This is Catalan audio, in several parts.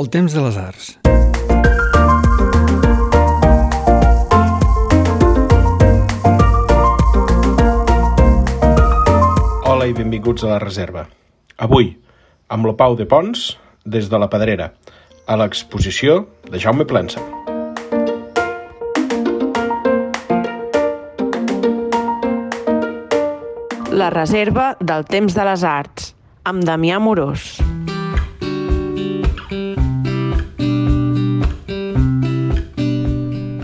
El temps de les arts. Hola i benvinguts a la reserva. Avui, amb la Pau de Pons, des de la Pedrera, a l'exposició de Jaume Plensa. La reserva del temps de les arts, amb Damià Morós.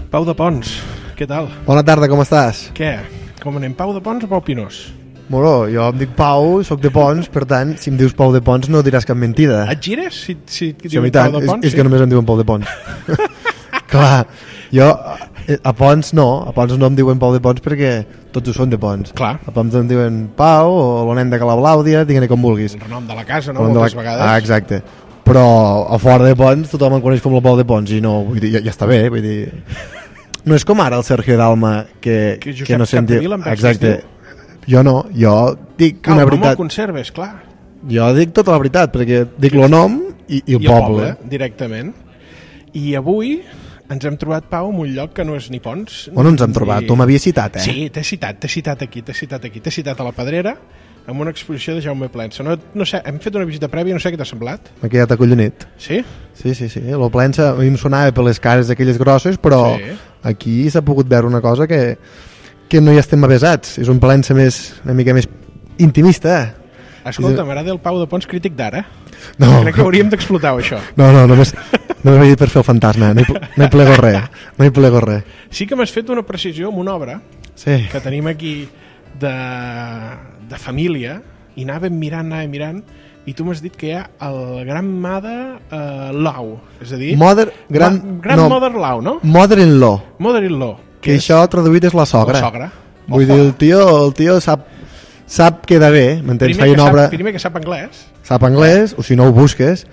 Pau de Pons, què tal? Bona tarda, com estàs? Què? Com anem, Pau de Pons o Pau Pinós? Moró, jo em dic Pau, sóc de Pons, per tant, si em dius Pau de Pons no diràs cap mentida. Et gires si, si et Sí, a mi diuen tant, Pau de és, Pons? és que només em diuen Pau de Pons. Clar, jo eh, a Pons no, a Pons no em diuen Pau de Pons perquè tots ho són de Pons. Clar. A Pons em diuen Pau o l'Onem de Calablàudia, digue-ne com vulguis. El renom de la casa, no? Nom de la- Moltes vegades. Ah, exacte. Però a fora de Pons tothom em coneix com el Pau de Pons i no, vull dir, ja, ja està bé, vull dir... No és com ara el Sergio Dalma que, Que Josep que no se'n diu... Capdevila em penso que es Exacte. Jo no, jo dic Calma, no una me'l veritat. conserves, clar. Jo dic tota la veritat, perquè dic el nom i, i el poble. eh? directament. I avui ens hem trobat, Pau, en un lloc que no és ni Pons... On ens hem trobat? Tu m'havies citat, eh? Sí, t'he citat, t'he citat aquí, t'he citat aquí, t'he citat a la Pedrera amb una exposició de Jaume Plensa. No, no sé, hem fet una visita prèvia, no sé què t'ha semblat. M'ha quedat acollonit. Sí? Sí, sí, sí. El Plensa a mi em sonava per les cares aquelles grosses, però Sí. sí. aquí s'ha pogut veure una cosa que, que no hi estem avesats. És un Plensa més, una mica més intimista. eh? Escolta, m'agrada el Pau de Pons crític d'ara. No, Crec que hauríem d'explotar això. no, no només, només vaig dir per fer el fantasma. No hi, pl- no hi plego res. No hi plego res. Sí que m'has fet una precisió amb una obra Sí. que tenim aquí de, de família i anàvem mirant, anàvem mirant i tu m'has dit que hi ha el Gran Mada eh, Lau, és a dir... Mother, gran, Ma- gran no, Mother Lau, no? Mother in Law. Mother in Law. Que això traduït és la sogra. La sogra. Vull dir, el tio, el tio sap, sap que de bé, m'entens? primer, Feia que una obra, sap, primer que sap anglès, sap anglès, o si no ho busques,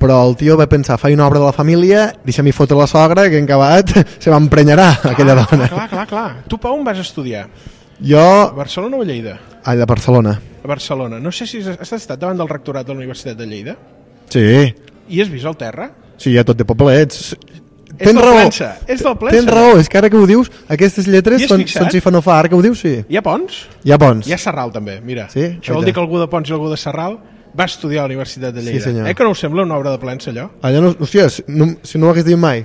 però el tio va pensar, faig una obra de la família, deixa-m'hi fotre la sogra, que en acabat se m'emprenyarà aquella Ah, dona. Clar, clar, clar. Tu, Pau, on vas estudiar? A Jo, Barcelona o a Lleida? allà a Barcelona. A Barcelona. No sé si has has estat davant del rectorat de la Universitat de Lleida Sí, i has vist el terra. sí, ja tot de poblets. És del Plensa, és del Plensa. Tens raó, és que ara que ho dius, aquestes lletres T'hi has són, fixat? són sifanofà, ara que ho dius, sí. Hi ha Pons? Hi ha bons. Hi ha Serral, també, mira. Sí? Això vol Vaja. dir que algú de Pons i algú de Serral va estudiar a la Universitat de Sí, Lleida. senyor. eh, que no us sembla una obra de plens, allò? Allà Ah, no, hòstia, si no, si no ho hagués dit mai.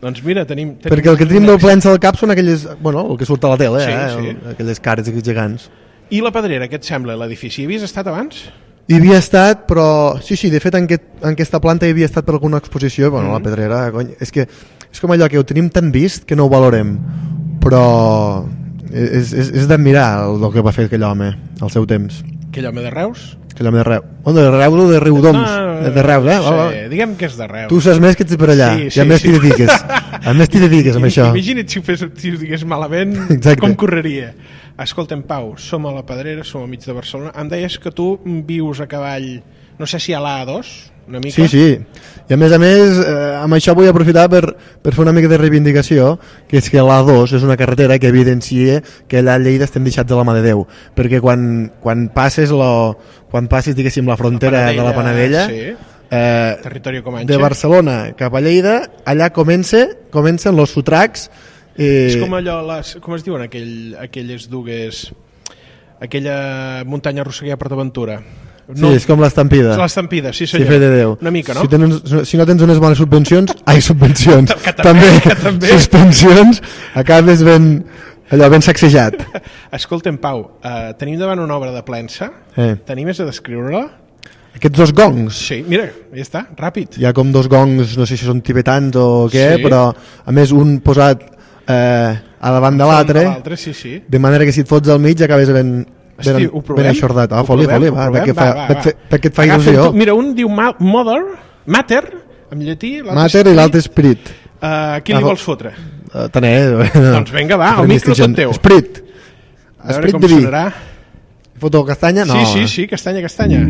Doncs mira, tenim... tenim Perquè el que tenim una- del plens al cap són aquelles, bueno, el que surt a la tele, Sí, eh? sí. el- aquelles cares gegants. I la Pedrera, què et sembla, l'edifici? Hi havies estat abans? Hi havia estat, però... Sí, sí, de fet, en, aquest, en aquesta planta hi havia estat per alguna exposició, bueno, mm -hmm. la pedrera, cony, és que és com allò que ho tenim tan vist que no ho valorem, però és, és, és d'admirar el, el que va fer aquell home al seu temps. Aquell home de Reus? Aquell home de Reus. Oh, de Reus o de Riudoms? No, de Reus, eh? Ah, Sí, Va, va. diguem que és de Reus. Tu saps més que ets per allà, Sí, sí, sí, sí, i a més sí. t'hi dediques. A més t'hi dediques amb això. Imagina't si ho, fes, si ho digués malament, Exacte. com correria. Escolta'm, Pau, som a la Pedrera, som al mig de Barcelona. Em deies que tu vius a cavall, no sé si a l'A2, una mica. Sí, sí. I a més a més, eh, amb això vull aprofitar per, per fer una mica de reivindicació, que és que l'A2 és una carretera que evidencia que allà a Lleida estem deixats de la mà de Déu, perquè quan, quan passes lo, quan passis, diguéssim, la frontera de la Panadella, Sí, eh, territori Comanche. de Barcelona cap a Lleida, allà comença, comencen los sotracs, eh, És com allò, les, com es diuen aquell, aquelles dugues, aquella muntanya russa que hi ha a PortAventura. sí, és com l'estampida. l'estampida, sí Sí, senyor. fe de Déu. Una mica, no? Si, tenen, si no tens unes bones subvencions, ai, subvencions. Que també, que també. Suspensions, acabes ben, allò, ben sacsejat. Escolta'm, Pau, eh, tenim davant una obra de plensa. Eh. T'animes a descriure-la? Aquests dos gongs, Sí, mira, ja està, ràpid. hi ha com dos gongs, no sé si són tibetans o què, Sí. però a més un posat eh, a davant de l'altre, L'altre, sí, sí. de manera que si et fots al mig acabes ben, ben, Hosti, ho provem? ben aixordat. Ah, Ho foli, provem? foli, Ho va, provem? perquè, Va, fa, va, perquè, va. perquè et fa Agafen il·lusió. tu- Mira, un diu ma- mother, mater, amb llatí, l'altre... Mater i l'altre esperit. Uh, qui li Ah, vols fotre? Eh, Tané. Doncs vinga, va, el micro tot teu. Esperit. A veure Esperit com de vi. sonarà. Foto castanya? No. eh. Sí, sí, sí, castanya, castanya.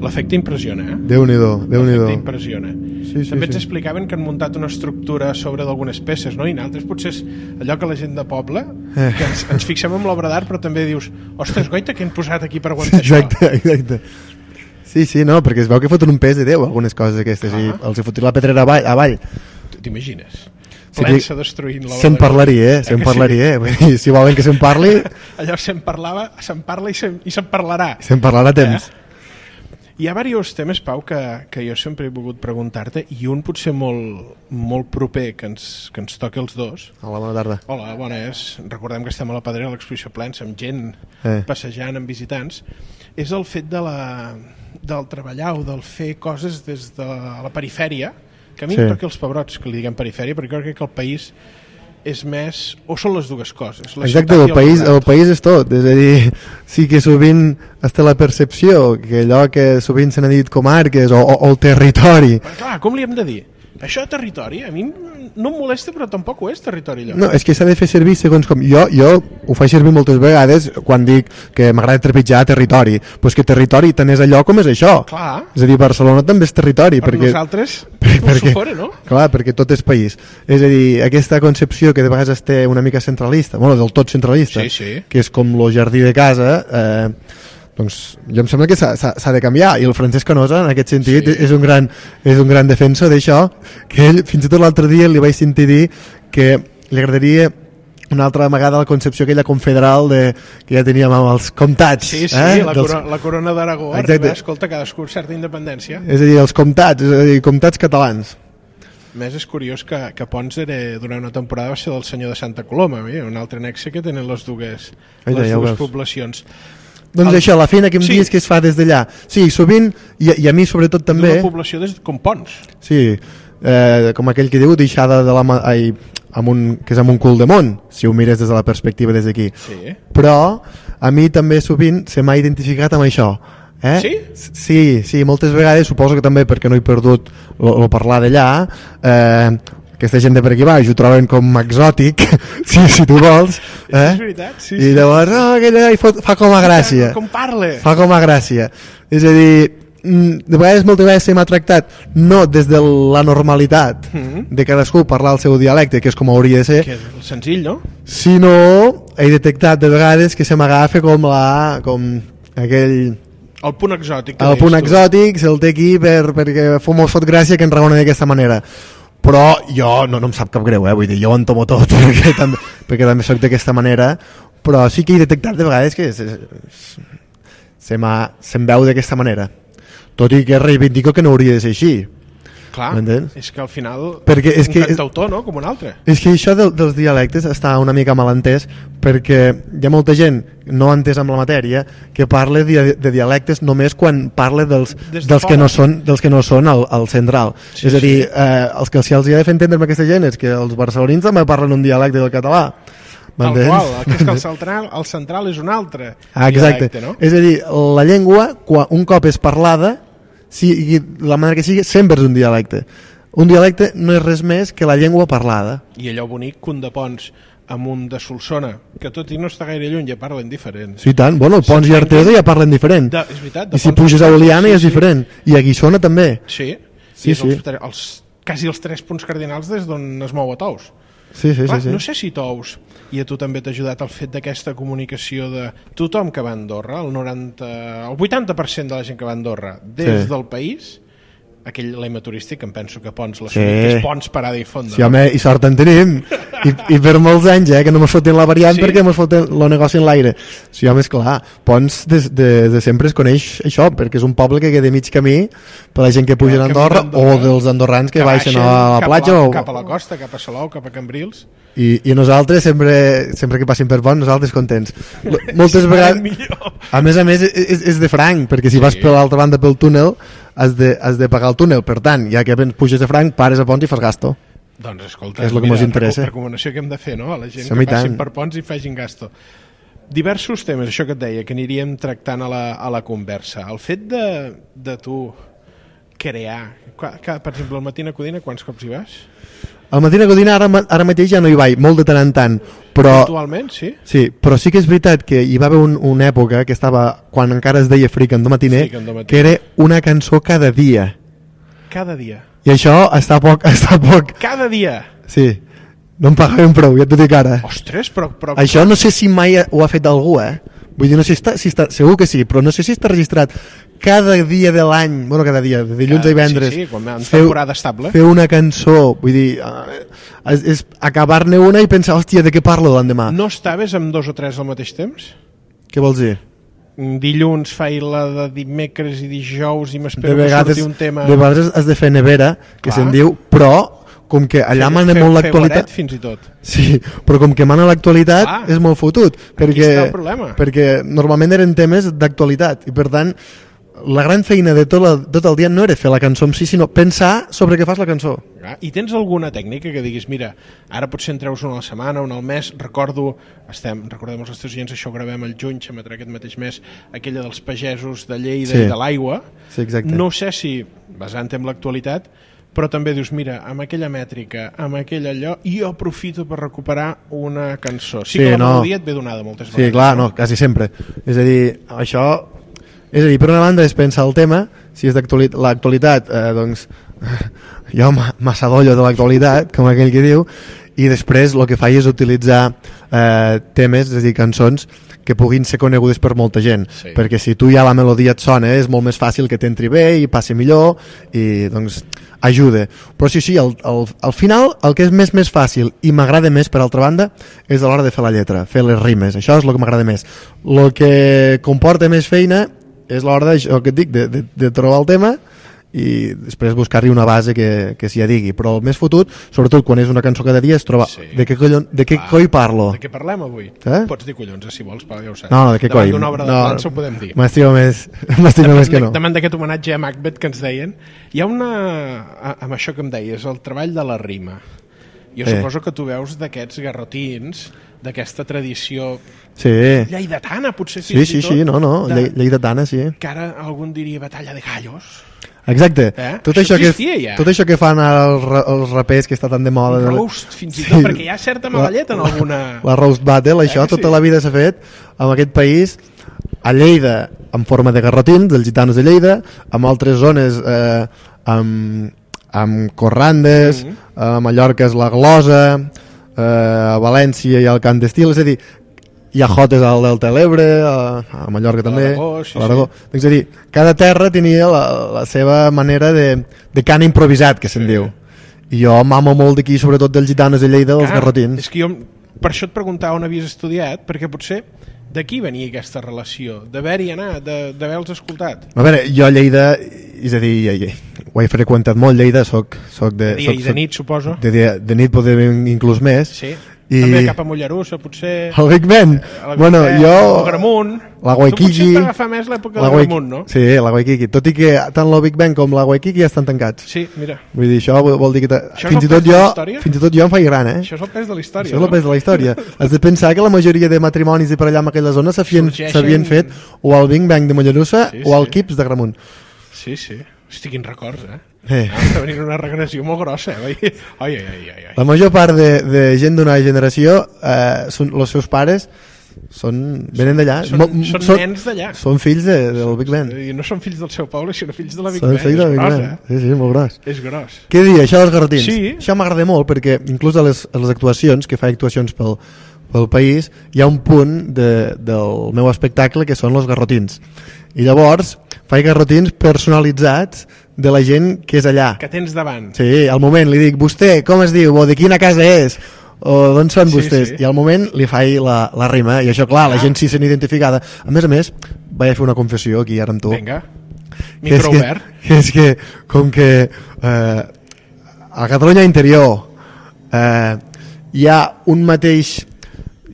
L'efecte impressiona, eh? Déu-n'hi-do, déu nhi L'efecte déu impressiona. Sí, sí, També ens sí. explicaven que han muntat una estructura sobre d'algunes peces, no? I altres potser és allò que la gent de poble, Eh. que ens, ens fixem en l'obra d'art, però també dius, ostres, goita, que hem posat aquí per aguantar això? Exacte, exacte. Sí, sí, no, perquè es veu que foten un pes de Déu algunes coses aquestes, i Ah. els he fotut la pedrera avall, avall. T'imagines? Sí, Plensa destruint l'obra Se'n d'art. parlaria, eh? Eh Se'n que sí? parlaria, eh? Vull dir, si volen que se'n parli, Allò se'n parlava, se'n parla i se'n, i se'n parlarà. se'n Eh? parlarà a temps. Hi ha diversos temes, Pau, que, que jo sempre he volgut preguntar-te i un potser molt, molt proper que ens, que ens toca els dos. Hola, bona tarda. Hola, bona és. Recordem que estem a la Pedrera, a l'exposició plens, amb gent Eh. passejant, amb visitants. És el fet de la, del treballar o del fer coses des de la perifèria, que a mi Sí. sí. em toca els pebrots que li diguem perifèria, perquè jo crec que el país és més... o són les dues coses. La Exacte, ciutat i el país, el poblat. país és tot, és a dir, sí que sovint està la percepció que allò que sovint se n'ha dit comarques o, o, o el territori, Però, clar, com li hem de dir? Això territori, a mi no em molesta, però tampoc ho és territori, allò. no, és que s'ha de fer servir segons com, jo, jo ho faig servir moltes vegades quan dic que m'agrada trepitjar territori, però és que territori tant és allò com és això, Clar, és a dir, Barcelona també és territori, per perquè... nosaltres, Per- per, supone, no? Clar, perquè tot és país. És a dir, aquesta concepció que de vegades es té una mica centralista, bueno, del tot centralista, Sí, sí. que és com el jardí de casa, eh, doncs jo em sembla que s'ha- s'ha s'ha de canviar i el Francesc Canosa en aquest sentit Sí. és un gran, és un gran defensor d'això que ell fins i tot l'altre dia li vaig sentir dir que li agradaria una altra vegada la concepció aquella confederal de, que ja teníem amb els comtats Sí, sí, eh? eh? la, Dels- corona, la corona d'Aragó Exacte. arriba, escolta, cadascú certa independència. és a dir, els comtats, és a dir, comtats catalans A Més és curiós que, que Pons era, durant una temporada va ser del senyor de Santa Coloma, mira, un altre nexe que tenen les dues, Ai, les ja ho dues veus. poblacions. Doncs El- això, la feina que em Sí. sí. dius que es fa des d'allà. Sí, sovint, i, i a mi sobretot també, D'una població des, com Pons. sí, eh, com aquell que diu, deixada de la mà, ai, amb un, que és amb un cul de món, si ho mires des de la perspectiva des d'aquí. Sí. Però a mi també sovint se m'ha identificat amb això. Eh? Sí? S- Sí, sí, moltes vegades, suposo que també perquè no he perdut el parlar d'allà, eh, aquesta gent de per aquí baix ho troben com exòtic, si, si tu vols, eh? És veritat, sí, I sí. llavors, oh, aquella hi fot, fa com a gràcia. Com parla. Fa com a gràcia. És a dir, mm, de vegades moltes vegades se m'ha tractat no des de la normalitat Mhm. de cadascú parlar el seu dialecte, que és com hauria de Que ser, és senzill, no? sinó he detectat de vegades que se m'agafa com la... com aquell... El punt exòtic. que El deies punt tu. exòtic se'l té aquí per, perquè fo- mos fot gràcia que ens raona d'aquesta manera. Però jo no, no em sap cap greu, eh? vull dir, jo ho entomo tot perquè també, perquè també soc d'aquesta manera, però sí que he detectat de vegades que se, se, se m'ha- se'm veu d'aquesta manera. Tot i que reivindico que no hauria de ser així. Clar, M'entens? és que al final Perquè és un que- cantautor, no? Com un altre. És que això del, dels dialectes està una mica mal entès perquè hi ha molta gent no entès amb la matèria que parla de, de dialectes només quan parla dels, Des de dels, que fora. no són, dels que no són al, al central. Sí, Sí, és a sí. dir, eh, els que si els hi ha de fer entendre amb aquesta gent és que els barcelonins també parlen un dialecte del català. Tal M'entens? qual, el que és que el central, el central és un altre Ah, Exacte. dialecte, no? És a dir, la llengua, quan un cop és parlada, sigui, la manera que sigui, sempre és un dialecte. Un dialecte no és res més que la llengua parlada. i allò bonic que un de Pons amb un de Solsona, que tot i no està gaire lluny ja parlen diferent. Sí, i tant. Bueno, el Pons i Artesa ja parlen diferent. De, és veritat, de I si Pons puges a Solsona, Oliana sí, ja és sí. diferent. I a Guissona també. Sí, Sí, sí, és sí. Els, tre- els, quasi els tres punts cardinals des d'on es mou a Tous. Sí, sí, Clar, sí. sí. No sé si Tous, i a tu també t'ha ajudat el fet d'aquesta comunicació de tothom que va a Andorra, el, 90, el 80% de la gent que va a Andorra des Sí. del país, aquell lema turístic que em penso que Pons la sí. Sí. que és Pons Parada i Fonda. Sí, home, i sort en tenim. I, i per molts anys, eh, que no mos foten la variant Sí? sí? perquè mos foten el negoci en l'aire. Sí, home, esclar, Pons des de, de sempre es coneix això, perquè és un poble que queda a mig camí per la gent que puja El a camí Andorra o d'Andorra. dels andorrans que, baixen, a la cap platja o, Cap a la costa, cap a Salou, cap a Cambrils. I, i nosaltres sempre, sempre que passin per Pons nosaltres contents L- moltes Estarem vegades millor. a més a més és, és de franc perquè si sí. vas per l'altra banda pel túnel has de, has de pagar el túnel per tant ja que puges de franc pares a Pons i fas gasto Doncs escolta, És lo que mira, mos interessa. reco- Recomanació que hem de fer, no?, a la gent Sí, sí, home, que i passin tant. per ponts i facin gasto. Diversos temes, això que et deia, que aniríem tractant a la, a la conversa. El fet de, de tu crear... Qua- Que, per exemple, al matí a Codina, quants cops hi vas? El Matina Codina ara, ma- ara mateix ja no hi vaig, molt de tant en tant, però... Actualment, sí. Sí, però sí que és veritat que hi va haver un, una època que estava, quan encara es deia Freak'em do Matiner, Freak en do Matiner. que era una cançó cada dia. Cada dia. I això està poc, està poc, Cada dia! sí. No em pagaven prou, ja t'ho dic ara. Ostres, però... però Això no sé si mai ho ha fet algú, eh? Vull dir, no sé si està, si està, segur que sí, però no sé si està registrat cada dia de l'any, bueno, cada dia, de dilluns Cada- a divendres, sí, sí, quan en temporada estable. fer una cançó, vull dir, eh, és, és acabar-ne una i pensar, hòstia, de què parlo l'endemà? No No. estaves amb dos o tres al mateix temps? Què vols dir? Mm, Dilluns faig la de dimecres i dijous i De m'espero que vegades, surti un tema... de vegades has de fer nevera, que Clar. se'n diu, però com que allà Fer- mana fer- fer molt guaret, l'actualitat... fins i tot. Sí, però com que mana l'actualitat Ah. és molt fotut, perquè, està el problema. perquè normalment eren temes d'actualitat i per tant la gran feina de tot, la, tot el dia no era fer la cançó en si, sinó pensar sobre què fas la cançó. Ah, I tens alguna tècnica que diguis, mira, ara potser en treus una a la setmana, una al mes, recordo, estem, recordem els nostres oients, això ho gravem el juny, s'emetrà aquest mateix mes, aquella dels pagesos de Lleida Sí. sí. i de l'aigua. Sí, exacte. No sé si, basant en l'actualitat, però també dius, mira, amb aquella mètrica, amb aquell allò, jo aprofito per recuperar una cançó. Sí, Sí, que la no. melodia et ve donada moltes Sí, vegades. clar, no, quasi sempre. És a dir, això... És a dir, per una banda és pensar el tema, si és d'actuali- l'actualitat, eh, doncs jo ma- m'assadollo de l'actualitat, com aquell que diu, i després el que faig és utilitzar eh, temes, és a dir, cançons que puguin ser conegudes per molta gent, Sí. perquè si tu ja la melodia et sona és molt més fàcil que t'entri bé i passi millor i doncs ajuda. Però sí, sí, al, al, al final el que és més més fàcil i m'agrada més per altra banda és a l'hora de fer la lletra, fer les rimes, això és el que m'agrada més. El que comporta més feina és l'hora d'això que et dic, de, de, de trobar el tema i després buscar-hi una base que, que s'hi digui, però el més fotut, sobretot quan és una cançó cada dia, és trobar Sí. sí. de què, collon, de què Clar. coi parlo. De què parlem avui? Eh? Pots dir collons, eh, si vols, però ja ho saps. No, no, de què Davant coi. d'una obra de no, dansa ho podem dir. M'estimo més, m'estimo més que no. Davant d'aquest homenatge a Macbeth que ens deien, hi ha una... a- amb això que em deies, el treball de la rima. Jo Eh. eh. suposo que tu veus d'aquests garrotins, d'aquesta tradició Sí, lleidatana, potser sí, fins sí, i tot. sí, no, no, de- Llei- lleidatana, sí. Que ara algun diria batalla de gallos. Exacte. Eh? Tot, Això això que, existia ja. tot això que fan els, ra- els rapers que està tan de moda... de- Roast, fins i tot, perquè hi ha certa mala llet en alguna- Eh, La roast battle, això, que sí? tota la vida s'ha fet en aquest país, a Lleida, en forma de garrotins, dels gitanos de Lleida, en altres zones eh, amb, amb corrandes, Mm-hmm. a Mallorca és la glosa, eh, a València hi ha el cant d'estil, és a dir, hi ha jotes al Delta de l'Ebre, a, a Mallorca també, l'Aragó, sí, a l'Aragó. Doncs, és a dir, cada terra tenia la, la seva manera de, de cant improvisat, que se'n diu. I jo mamo molt d'aquí, sobretot dels gitanes de Lleida, dels Clar, garrotins. És que jo, per això et preguntava on havies estudiat, perquè potser d'aquí venia aquesta relació, d'haver-hi anat, de- d'haver-los escoltat. A veure, jo a Lleida, és a dir, ja- ja- ho he freqüentat molt, Lleida, soc, soc de... Dia Eh, soc, i de nit, suposo. De, dia, de nit poder inclús més. Sí. I- I... També cap a Mollerussa, potser... El Big Ben. A Eh, la Bueno, Vic- jo... o Gramunt. La Tu potser Waikiki... has d'agafar més l'època del Waik- Gramunt, no? Sí, la Waikiki. Tot i que tant la Big Ben com la Waikiki ja estan tancats. Sí, mira. Vull dir, això vol vol dir que... ta- Això és el Fins i, tot pes de jo, la història? fins i tot jo em faig gran, eh? Això és el pes de la història, Això és el pes de la història. Has de pensar que la majoria de matrimonis de per allà en aquella zona s'havien Sorgeixen- s'havien fet o al Bing Bang de Mollerussa Sí, o al sí. Quips de Gramunt. Sí, sí. Hosti, quins records, eh? Eh. Ah, Està venint una regressió molt grossa, eh? Oi, oi, oi, oi, oi. La major part de, de gent d'una generació, eh, són, els seus pares són, venen d'allà. Són, Mo- són, són nens d'allà. Són fills de, del Big Ben. I No són fills del seu poble, sinó fills de la Big Són Ben. fills del És Big gros, Ben. Sí, sí, molt gros. eh? És gros. Què dir, això dels garrotins? Sí. Això m'agrada molt perquè inclús a les, a les actuacions, que faig actuacions pel, pel país, hi ha un punt de, del meu espectacle que són els garrotins. I llavors faig garrotins personalitzats de la gent que és allà. Que tens davant. Sí. Sí, al moment li dic, vostè, com es diu? O de quina casa és? O d'on són Sí, vostès? sí. I al moment li faig la, la rima, i això, clar, la Ah. gent s'hi sent identificada. A més a més, vaig a fer una confessió aquí ara amb tu. Vinga. Que és Micro que, obert. que és que, com que eh, a Catalunya interior eh, hi ha un mateix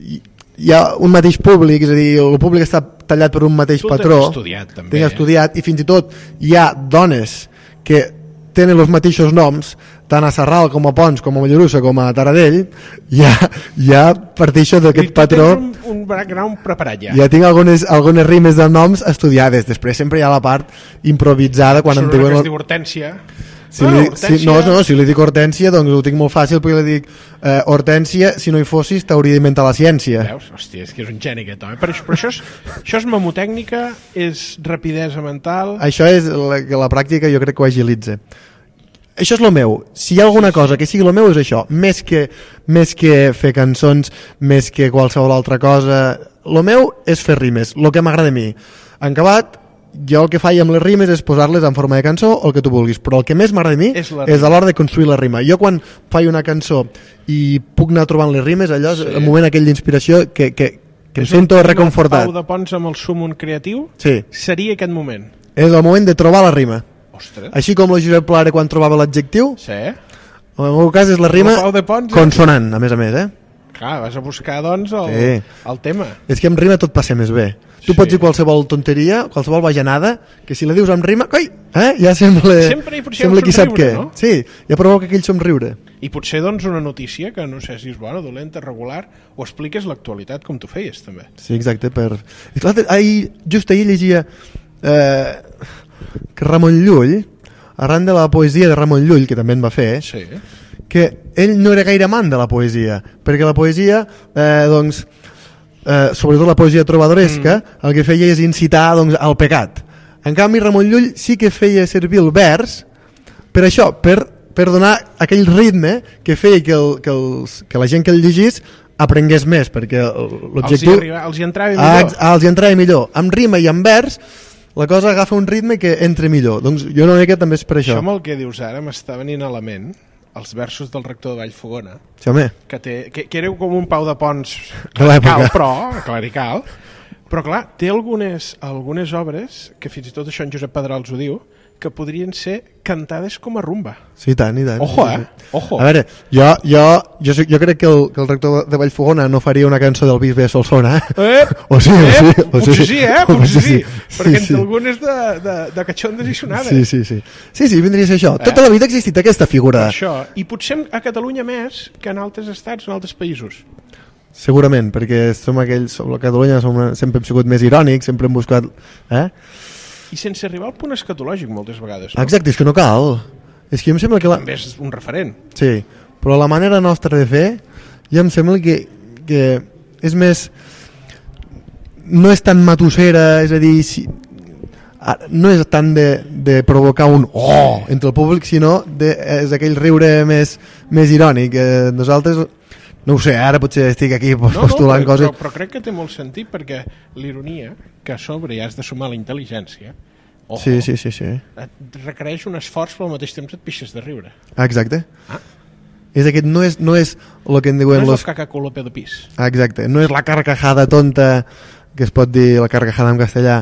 hi- hi ha un mateix públic, és a dir, el públic està tallat per un mateix Tu patró. t'has estudiat, també. eh? Tinc estudiat, i fins i tot hi ha dones que tenen els mateixos noms, tant a Serral com a Pons, com a Mollerussa, com a Taradell, ja, ja parteixo d'aquest patró. Tens un, un background preparat ja. Ja tinc algunes, algunes rimes de noms estudiades. Després sempre hi ha la part improvisada quan Quan em Surt una diuen... que el- es diu Hortència. Si Bueno, li, si, no, Hortènsia- no, si li dic Hortènsia, doncs ho tinc molt fàcil, perquè li dic eh, Hortènsia, si no hi fossis, t'hauria d'inventar la ciència. Veus? Hòstia, és que és un geni aquest home. Però, això- però això, és, això és memotècnica, és rapidesa mental... Això és la, que la pràctica jo crec que ho agilitza. Això és lo meu. Si hi ha alguna cosa que sigui lo meu és això. Més que, més que fer cançons, més que qualsevol altra cosa. Lo meu és fer rimes, lo que m'agrada a mi. En acabat, jo el que faig amb les rimes és posar-les en forma de cançó o el que tu vulguis, però el que més m'agrada a mi És és, la és a l'hora de construir la rima. Jo quan faig una cançó i puc anar trobant les rimes, allò és Sí. el moment aquell d'inspiració que, que, que em És un sento tema de reconfortat. Pau de Pons amb el súmum creatiu Sí, seria aquest moment. és el moment de trobar la rima. Ostres. Així com la Josep Pla era quan trobava l'adjectiu, Sí. en el meu cas és la rima El Pau de Pons, eh? consonant, a més a més, eh? Clar, vas a buscar, doncs, el, Sí. el tema. És que amb rima tot passa més bé. Tu Sí. pots dir qualsevol tonteria, qualsevol bajanada, que si la dius amb rima, coi, eh? ja sembla, Sempre hi potser un sembla qui sap somriure, què. no? Sí, ja provoca aquell somriure. I potser, doncs, una notícia que no sé si és bona, dolenta, regular, o expliques l'actualitat com tu feies, també. Sí, exacte. Per... I clar, ahir, just ahir llegia eh, que Ramon Llull, arran de la poesia de Ramon Llull, que també en va fer, eh? Sí. que ell no era gaire amant de la poesia, perquè la poesia, eh, doncs, eh, sobretot la poesia trobadoresca, mm. el que feia és incitar doncs, al pecat. En canvi, Ramon Llull sí que feia servir el vers per això, per, per donar aquell ritme que feia que, el, que, els, que la gent que el llegís aprengués més, perquè el- Els hi, l'objectiu... arriba, els hi entrava Ah, millor. ex- ah, els hi entrava millor. Amb rima i amb vers, la cosa agafa un ritme que entre millor. Doncs jo una mica també és per això. Això amb el que dius ara m'està venint a la ment els versos del rector de Vallfogona, Sí, home. que, té, que, que era com un pau de pons De l'època. clerical, però, clerical, però clar, té algunes, algunes obres, que fins i tot això en Josep Pedrals ho diu, que podrien ser cantades com a rumba. Sí, i tant, i tant. Ojo, Sí, eh? sí. Ojo. A veure, jo, jo, jo, soc- jo crec que el, que el rector de Vallfogona no faria una cançó del bisbe de Solsona. eh? Eh? O sí, o eh? sí, o potser sí. sí, eh? O Potser sí, sí. perquè Sí, entre sí. algunes de, de, de catxondes i sonades. Sí, sí, sí. Sí, sí, vindria a ser això. Eh? Tota la vida ha existit aquesta figura, Això, i potser a Catalunya més que en altres estats o en altres països. segurament, perquè som aquells, som la Catalunya, som una, sempre hem sigut més irònics, sempre hem buscat... Eh? I sense arribar al punt escatològic moltes vegades. No? Exacte, és que no cal. És que em sembla que la... També és un referent. Sí, però la manera nostra de fer ja em sembla que, que és més no és tan matussera és a dir si, a- no és tant de, de provocar un oh entre el públic sinó de, és aquell riure més, més irònic eh, nosaltres no ho sé, ara potser estic aquí postulant però, coses Però, però crec que té molt sentit perquè l'ironia, que a sobre hi has de sumar la intel·ligència, ojo, sí, sí, sí, sí, et requereix un esforç però al mateix temps et pixes de riure. exacte Ah. és aquest, no és, no és el que en diuen no és los el caca colope de pis. Ah, Exacte, no és la carcajada tonta que es pot dir la carcajada en castellà,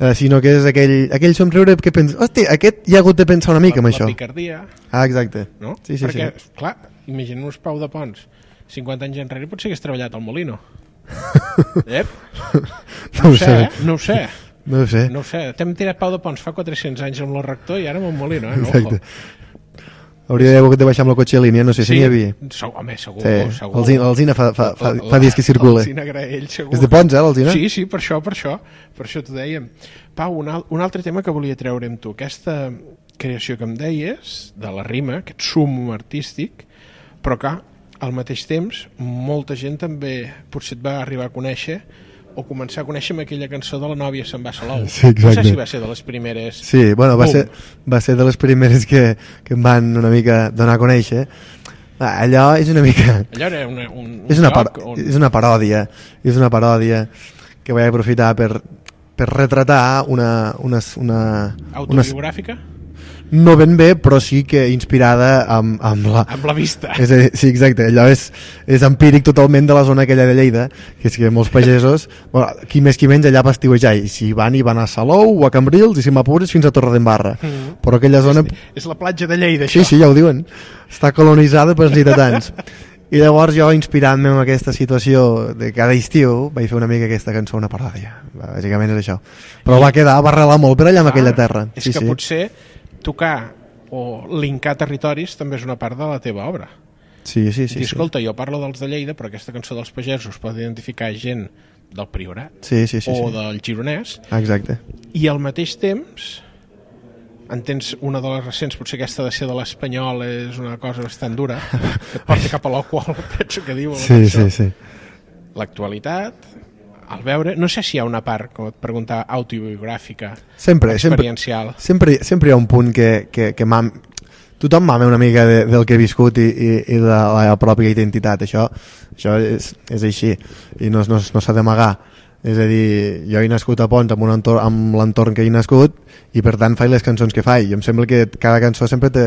eh, sinó que és aquell, aquell somriure que pensa, hòstia, aquest hi ha hagut de pensar una mica amb la, això. La picardia, Ah, exacte. no? Sí, sí, perquè, sí. clar, imaginem-nos Pau de Pons, 50 anys enrere potser hagués treballat al Molino. Ep, No no ho sé, eh? no ho sé. No ho sé. No ho sé, t'hem tirat Pau de Pons fa 400 anys amb el rector i ara amb el Molino, eh? Exacte. Ojo. Hauria d'haver hagut de baixar amb la cotxe a línia, no sé si n'hi havia. Segur, home, segur, Sí, Oh, segur. l'Alzina- l'Alzina fa, fa, fa, fa dies que La- circula. l'Alzina Graell, segur. És de Pons, eh, l'Alzina? Sí, sí, per això, per això, per això t'ho dèiem. Pau, un, al, un altre tema que volia treure amb tu, aquesta creació que em deies, de la rima, aquest sumo artístic, però que al mateix temps molta gent també potser et va arribar a conèixer o començar a conèixer amb aquella cançó de la nòvia se'n va a Salou. Sí, exacte. No sé si va ser de les primeres... Sí, bueno, va Bum. ser, va ser de les primeres que, que em van una mica donar a conèixer. Ah, Allò és una mica... Allò era una, un, un és una, par lloc on... és una paròdia és una paròdia que vaig aprofitar per, per retratar una, una, una, una autobiogràfica no ben bé però sí que inspirada amb, amb la amb la vista. és a dir, sí, exacte, allò és, és empíric totalment de la zona aquella de Lleida, que és que molts pagesos, bueno, qui més qui menys allà va estiuejar, i si van i van a Salou o a Cambrils, i si m'apures fins a Torredembarra. Mhm. Però aquella zona... És la platja de Lleida, Sí, això. sí, ja ho diuen. Està colonitzada pels lleidatans. I llavors jo, inspirant-me en aquesta situació de cada estiu, vaig fer una mica aquesta cançó, una paròdia. Bàsicament és això. Però va quedar, va arrelar molt per allà en aquella terra. Ah, És Sí, que sí. potser tocar o lincar territoris també és una part de la teva obra. Sí, sí, Sí, sí, I sí. escolta, jo parlo dels de Lleida, però aquesta cançó dels pagesos pot identificar gent del Priorat Sí, sí, sí, o sí. del Gironès Exacte. i al mateix temps en tens una de les recents, potser aquesta de ser de l'Espanyol és una cosa bastant dura, que et porta cap a la qual penso que diu. Sí, sí, sí. L'actualitat, al veure, no sé si hi ha una part, com et preguntava, autobiogràfica, Sempre, sempre, experiencial. sempre, sempre hi ha un punt que, que, que mam... tothom mama una mica de, del que he viscut i, i, i de la pròpia identitat això, això és, és així i no, es- no, es- no s'ha d'amagar és a dir, jo he nascut a Pons amb, un entorn, amb l'entorn que he nascut i per tant faig les cançons que faig i em sembla que cada cançó sempre, té,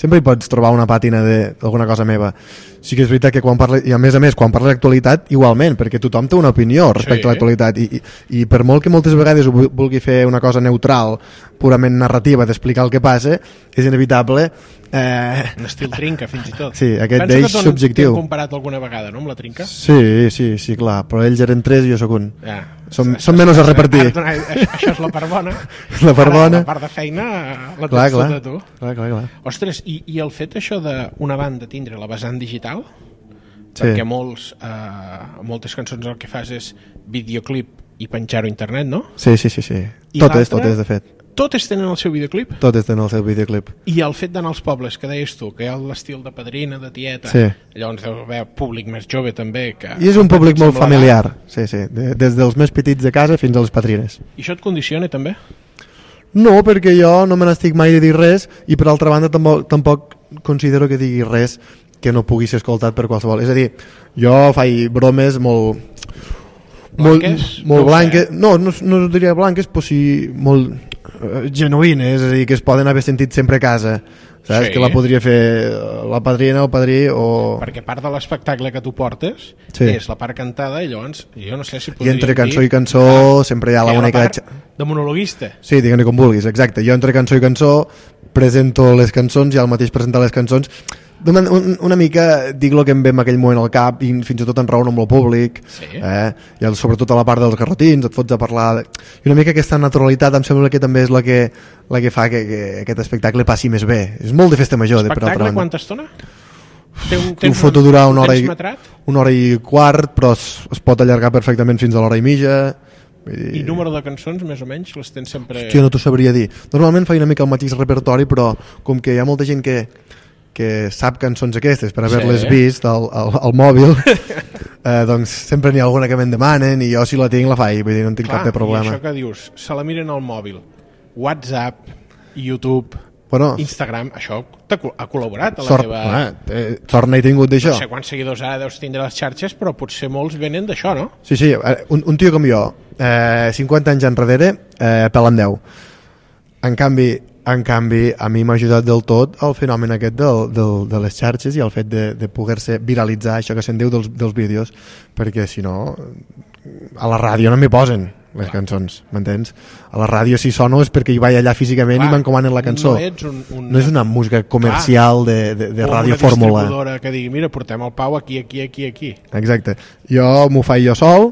sempre hi pots trobar una pàtina de- d'alguna cosa meva sí que és veritat que quan parla, i a més a més quan parles d'actualitat igualment, perquè tothom té una opinió respecte Sí. sí. a l'actualitat i, i, i per molt que moltes vegades ho vu- vulgui fer una cosa neutral purament narrativa d'explicar el que passa és inevitable eh, Un estil trinca, fins i tot. Sí, aquest Penso que d'ells t'han- subjectiu. t'han comparat alguna vegada, no?, amb la trinca. sí, sí, sí, clar però ells eren tres i jo sóc un Ja. som, som menys a repartir Ah. Ara, això, això és la part bona. La part Ara, bona. La part de feina eh, la clar, tens clar, tota tu. clar, clar, clar. Ostres, i, i el fet això d'una banda tindre la vessant digital, sí. Sí. perquè molts, eh, moltes cançons el que fas és videoclip i penjar-ho a internet, no? sí, sí, sí, sí. I totes, l'altre? totes de fet Totes tenen el seu videoclip totes tenen el seu videoclip i el fet d'anar als pobles, que deies tu, que hi ha l'estil de padrina, de tieta, Sí. llavors deu haver públic més jove també. Que i és un públic molt Ah, Semblarà. familiar sí, sí, de, des dels més petits de casa fins a les padrines I això et condiciona també? No, perquè jo no me n'estic mai de dir res i per altra banda tampoc, tampoc considero que digui res que no pugui ser escoltat per qualsevol. És a dir, jo faig bromes molt... Blanques? Molt, molt No ho sé. blanques. No, no, no diria blanques, però sí molt eh, genuïnes, és a dir, que es poden haver sentit sempre a casa. Saps? Sí. Que la podria fer eh, la padrina, el padrí o... Perquè part de l'espectacle que tu portes sí. Oh. Sí. és la part cantada i llavors jo no sé si I podríem entre cançó dir Ah, i cançó sempre hi ha que la hi ha la bonica... part de- de monologuista. Sí, digue-ne com vulguis, exacte. Jo entre cançó i cançó presento les cançons i al mateix presentar les cançons una, un, una mica dic el que em ve en aquell moment al cap i fins i tot enraono amb el públic Sí. eh? i el, sobretot a la part dels garrotins et fots a parlar de... i una mica aquesta naturalitat em sembla que també és la que, la que fa que, que aquest espectacle passi més bé és molt de festa major de, per altra Espectacle, banda quanta estona? Té un, ho foto durar una hora, i... i, Metrat? una hora i quart però es, es pot allargar perfectament fins a l'hora i mitja Vull I dir- número de cançons, més o menys, les tens sempre... Hòstia, Eh. no t'ho sabria dir. Normalment faig una mica el mateix repertori, però com que hi ha molta gent que, que sap cançons aquestes per haver-les Sí. sí. vist al, al, al mòbil, eh, doncs sempre n'hi ha alguna que me'n demanen i jo si la tinc la faig, vull dir, no en tinc Clar, cap de I problema. això que dius, se la miren al mòbil, WhatsApp, YouTube, Bueno, Instagram, això t'ha col- ha col·laborat a la sort, teva... eh, eh, sort n'he tingut No d'això. sé quants seguidors ara deus tindre a les xarxes, però potser molts venen d'això, no? Sí, sí, eh, un, un tio com jo, eh, 50 anys enrere, eh, pel en 10. En canvi, en canvi, a mi m'ha ajudat del tot el fenomen aquest del, del, de les xarxes i el fet de, de poder-se viralitzar això que se'n diu dels, dels vídeos, perquè si no, a la ràdio no m'hi posen les cançons, m'entens? A la ràdio si sono és perquè hi vaig allà físicament Clar, i m'encomanen la cançó. No ets un, un, no és una música comercial de, de, de o una ràdio fórmula. distribuïdora que digui, mira, portem el Pau aquí, aquí, aquí, aquí. Exacte. Jo m'ho faig jo sol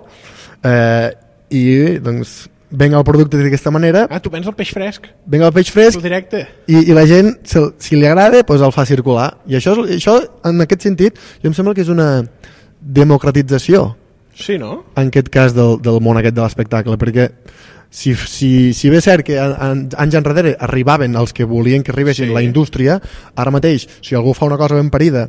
eh, i doncs venc el producte d'aquesta manera, Ah, tu vens el peix fresc, venc el peix tu fresc directe. i, i la gent, si, si li agrada, doncs el fa circular. I això, és- això, en aquest sentit, jo em sembla que és una democratització, Sí, no? en aquest cas, del, del món aquest de l'espectacle, perquè si, si, si bé és cert que an- an- anys enrere arribaven els que volien que arribessin Sí. sí. la indústria, ara mateix, si algú fa una cosa ben parida,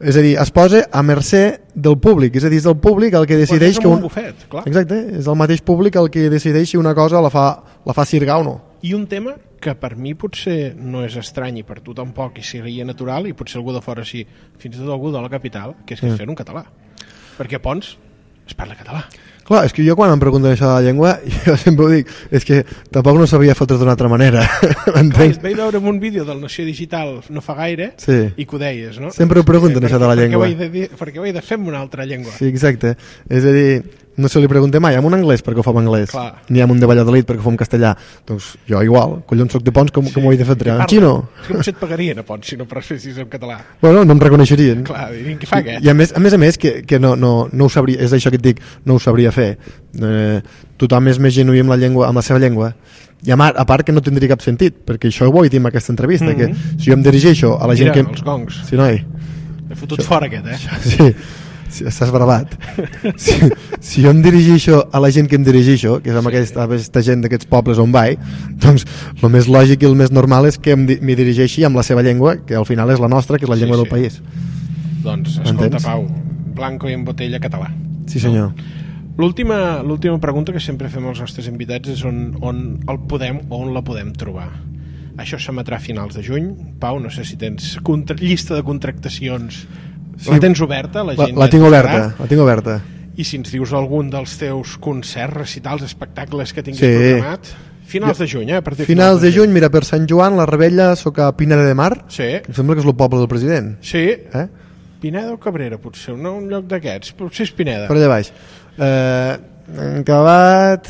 és a dir, es posa a mercè del públic, és a dir, és el públic el que decideix Poses que amb un, un bufet, clar. Exacte, és el mateix públic el que decideix si una cosa la fa, la fa cirgar o no. I un tema que per mi potser no és estrany i per tu tampoc, i seria natural, i potser algú de fora sí, fins i tot algú de la capital, que Mm. és que es fer un català. Perquè a Pons es parla català. Clar, és que jo quan em pregunten això de la llengua, jo sempre ho dic, és que tampoc no sabria fotre d'una altra manera, Clar, i et m'entens? vaig veure en un vídeo del Nació Digital no fa gaire Sí. i que ho deies, no? Sempre ho pregunten, Per- això de la llengua. Per què ho he de, dir, per què ho he de fer amb una altra llengua? Sí, exacte. És a dir, no se li pregunta mai, amb un anglès perquè ho fa en anglès, Clar. ni amb un de Valladolid perquè ho fa en castellà. Doncs jo igual, collons soc de Pons, com, com ho he de fer? En Parla. xino? És que potser et pagarien a Pons si no presfessis en català. Bueno, no em reconeixerien. Clar, dirien, què fa aquest? I a més a més, a més que, que no, no, no ho sabria, és això que et dic, no ho sabria fer. Eh, tothom és més genuí amb la, llengua, amb la seva llengua. I a, mar, a part que no tindria cap sentit, perquè això ho vull dir en aquesta entrevista, mm -hmm. que si jo em dirigeixo a la gent Mm-hmm. Mira, que... els gongs. Sí, noi. He fotut fora aquest, eh? Sí. Si- Estàs bravat. Si, si jo em dirigeixo a la gent que em dirigeixo, que és amb sí. aquesta, aquesta gent d'aquests pobles on vaig, doncs el més lògic i el més normal és que em di- m'hi dirigeixi amb la seva llengua, que al final és la nostra, que és la Sí, llengua sí. del país. Doncs, escolta, Entens? Pau, blanco i en botella català. Sí, senyor. L'última l'última pregunta que sempre fem als nostres invitats és on, on el podem o on la podem trobar. Això s'emetrà a finals de juny. Pau, no sé si tens contra, llista de contractacions. Sí. Sí. La tens oberta? La, La, gent la et tinc trobarà? oberta, la tinc oberta. I si ens dius algun dels teus concerts, recitals, espectacles que tinguis Sí. programat... Finals de juny, eh? A partir Finals de juny, mira, per Sant Joan, la Rebella, sóc a Pineda de Mar, Sí, em sembla que és el poble del president. sí. Eh? Pineda o Cabrera, potser, no un lloc d'aquests. Potser és Pineda. Per allà baix. Eh, hem acabat...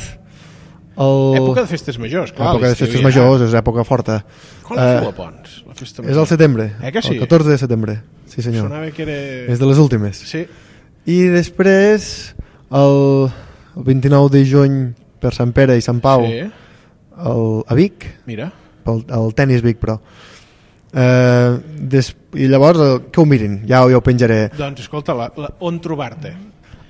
El... Època de festes majors, clar. època de l'estiu festes ja. majors, és època forta. Quan la Eh, feu a Pons, la festa major? És al setembre, Eh que sí? el 14 de setembre. Sí, senyor. Sonava que era... És de les últimes. Sí, I després, el, el 29 de juny per Sant Pere i Sant Pau, sí. el, a Vic, Mira, pel, el tennis Vic, però. Uh, des, I llavors, eh, que ho mirin, ja, ho- ja ho penjaré. doncs escolta, la, la, on trobar-te?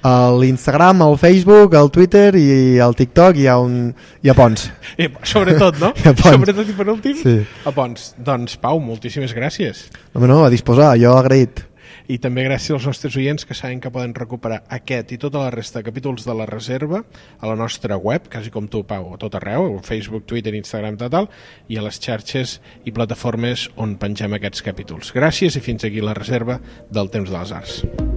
A l'Instagram, al Facebook, al Twitter i al TikTok hi ha, un, hi ha ponts. Eh, sobretot, no? A Pons. Sobretot i per últim, Sí. a Pons. Doncs, Pau, moltíssimes gràcies. No, no, a disposar, jo agraït. I també gràcies als nostres oients que saben que poden recuperar aquest i tota la resta de capítols de la reserva a la nostra web, quasi com tu, Pau, a tot arreu, a Facebook, Twitter, Instagram, tal, tal, i a les xarxes i plataformes on pengem aquests capítols. Gràcies i fins aquí la reserva del Temps de les Arts.